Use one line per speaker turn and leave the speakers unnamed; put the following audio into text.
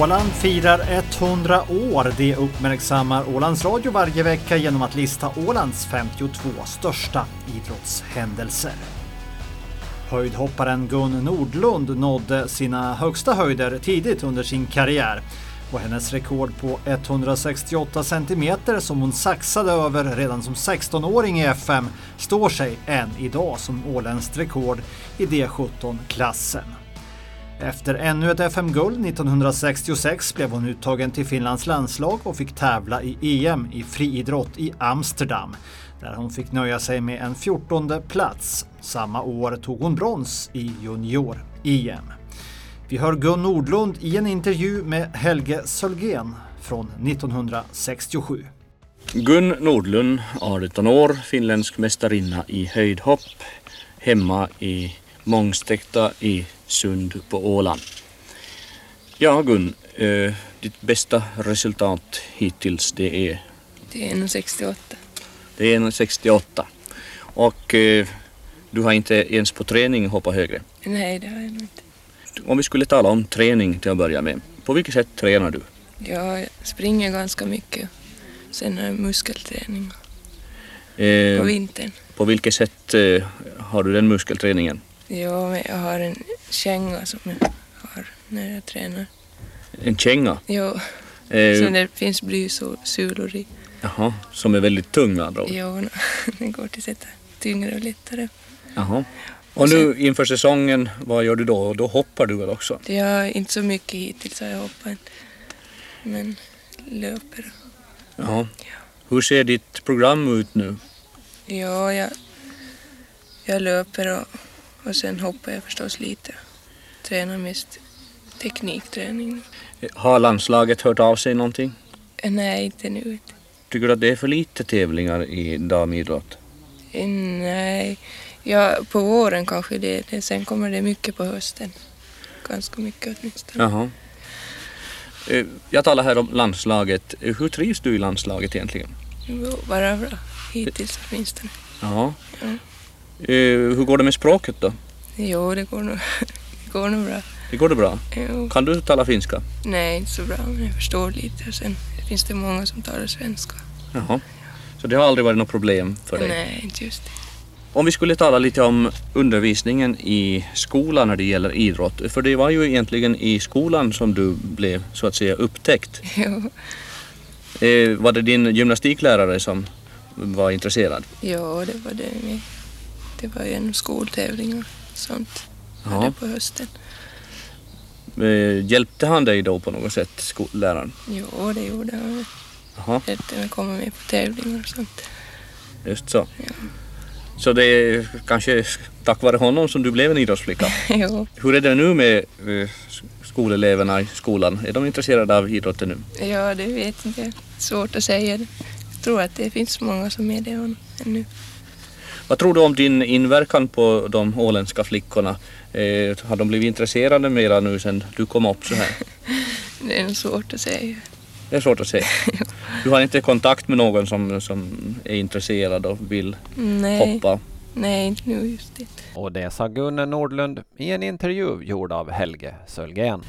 Åland firar 100 år. Det uppmärksammar Ålands Radio varje vecka genom att lista Ålands 52 största idrottshändelser. Höjdhopparen Gun Nordlund nådde sina högsta höjder tidigt under sin karriär och hennes rekord på 168 centimeter som hon saxade över redan som 16-åring i FM står sig än idag som åländskt rekord i D17-klassen. Efter ännu ett FM-guld 1966 blev hon uttagen till Finlands landslag och fick tävla i EM i friidrott i Amsterdam där hon fick nöja sig med en 14 plats. Samma år tog hon brons i junior-EM. Vi hör Gun Nordlund i en intervju med Helge Sölgen från 1967.
Gun Nordlund, 18 år, finländsk mästarinna i höjdhopp, hemma i Mångstekta i Sund på Åland. Ja Gun, eh, ditt bästa resultat hittills det är?
Det är 1,68.
Det är 1,68. Och eh, du har inte ens på träning hoppat högre?
Nej, det har jag nog inte.
Om vi skulle tala om träning till att börja med. På vilket sätt tränar du?
Jag springer ganska mycket. Sen är det muskelträning
Eh,
på vintern.
på vilket sätt eh, har du den muskelträningen?
Ja, men jag har en känga som jag har när jag tränar.
En känga?
Ja,
Eh,
sen det finns blysulor i.
Jaha, som är väldigt tung med andra ord.
Ja, det går till att sätta tyngre och lättare.
Jaha. Och nu inför säsongen, vad gör du då? Då hoppar du väl också?
Det har inte så mycket hittills har jag hoppat än. Men löper.
Jaha. Hur ser ditt program ut nu?
Ja, jag, jag löper och, och sen hoppar jag förstås lite. Tränar mest teknikträning.
Har landslaget hört av sig någonting?
Eh, Nej, inte nu.
Tycker du att det är för lite tävlingar i damidrott?
Eh, Nej, ja, på våren kanske det är det. Sen kommer det mycket på hösten. Ganska mycket åtminstone.
Jaha. Eh, Jag talar här om landslaget. Eh, Hur trivs du i landslaget egentligen?
Jo, Bara bra. Hittills åtminstone.
Jaha.
Ja.
Eh, Hur går det med språket då?
Jo, det går nog, det går nog bra.
Det går det bra?
Jo.
Kan du tala finska?
Nej, inte så bra, men jag förstår lite. Och sen finns det många som talar svenska.
Jaha. Så det har aldrig varit något problem för dig?
Nej, inte just det.
Om vi skulle tala lite om undervisningen i skolan när det gäller idrott. För det var ju egentligen i skolan som du blev så att säga upptäckt.
Jo,
Eh, var det din gymnastiklärare som var intresserad?
jo det var det med. Det var genom skoltävlingar och sånt.
Ja.
Hade på hösten.
Eh, hjälpte han dig då på något sätt, skolläraren?
Jo, det gjorde han. väl.
Jaha,
Hjälpte mig komma med på tävlingar och sånt.
just så. Så det är kanske tack vare honom som du blev en idrottsflicka.
jo,
Hur är det nu med eh, skoleleverna i skolan? Är de intresserade av idrotten nu?
ja, det vet inte. jag. Svårt att säga. det. Jag tror att det finns många som är det hon- ännu.
Vad tror du om din inverkan på de åländska flickorna? Eh, har de blivit intresserade mera nu sen du kom upp så här?
Det är nog svårt att säga.
Det är svårt att säga. Du har inte kontakt med någon som, som är intresserad och vill
Nej,
hoppa?
nej inte nu just det.
Och det sa Gunnar Nordlund i en intervju gjord av Helge Sölgen.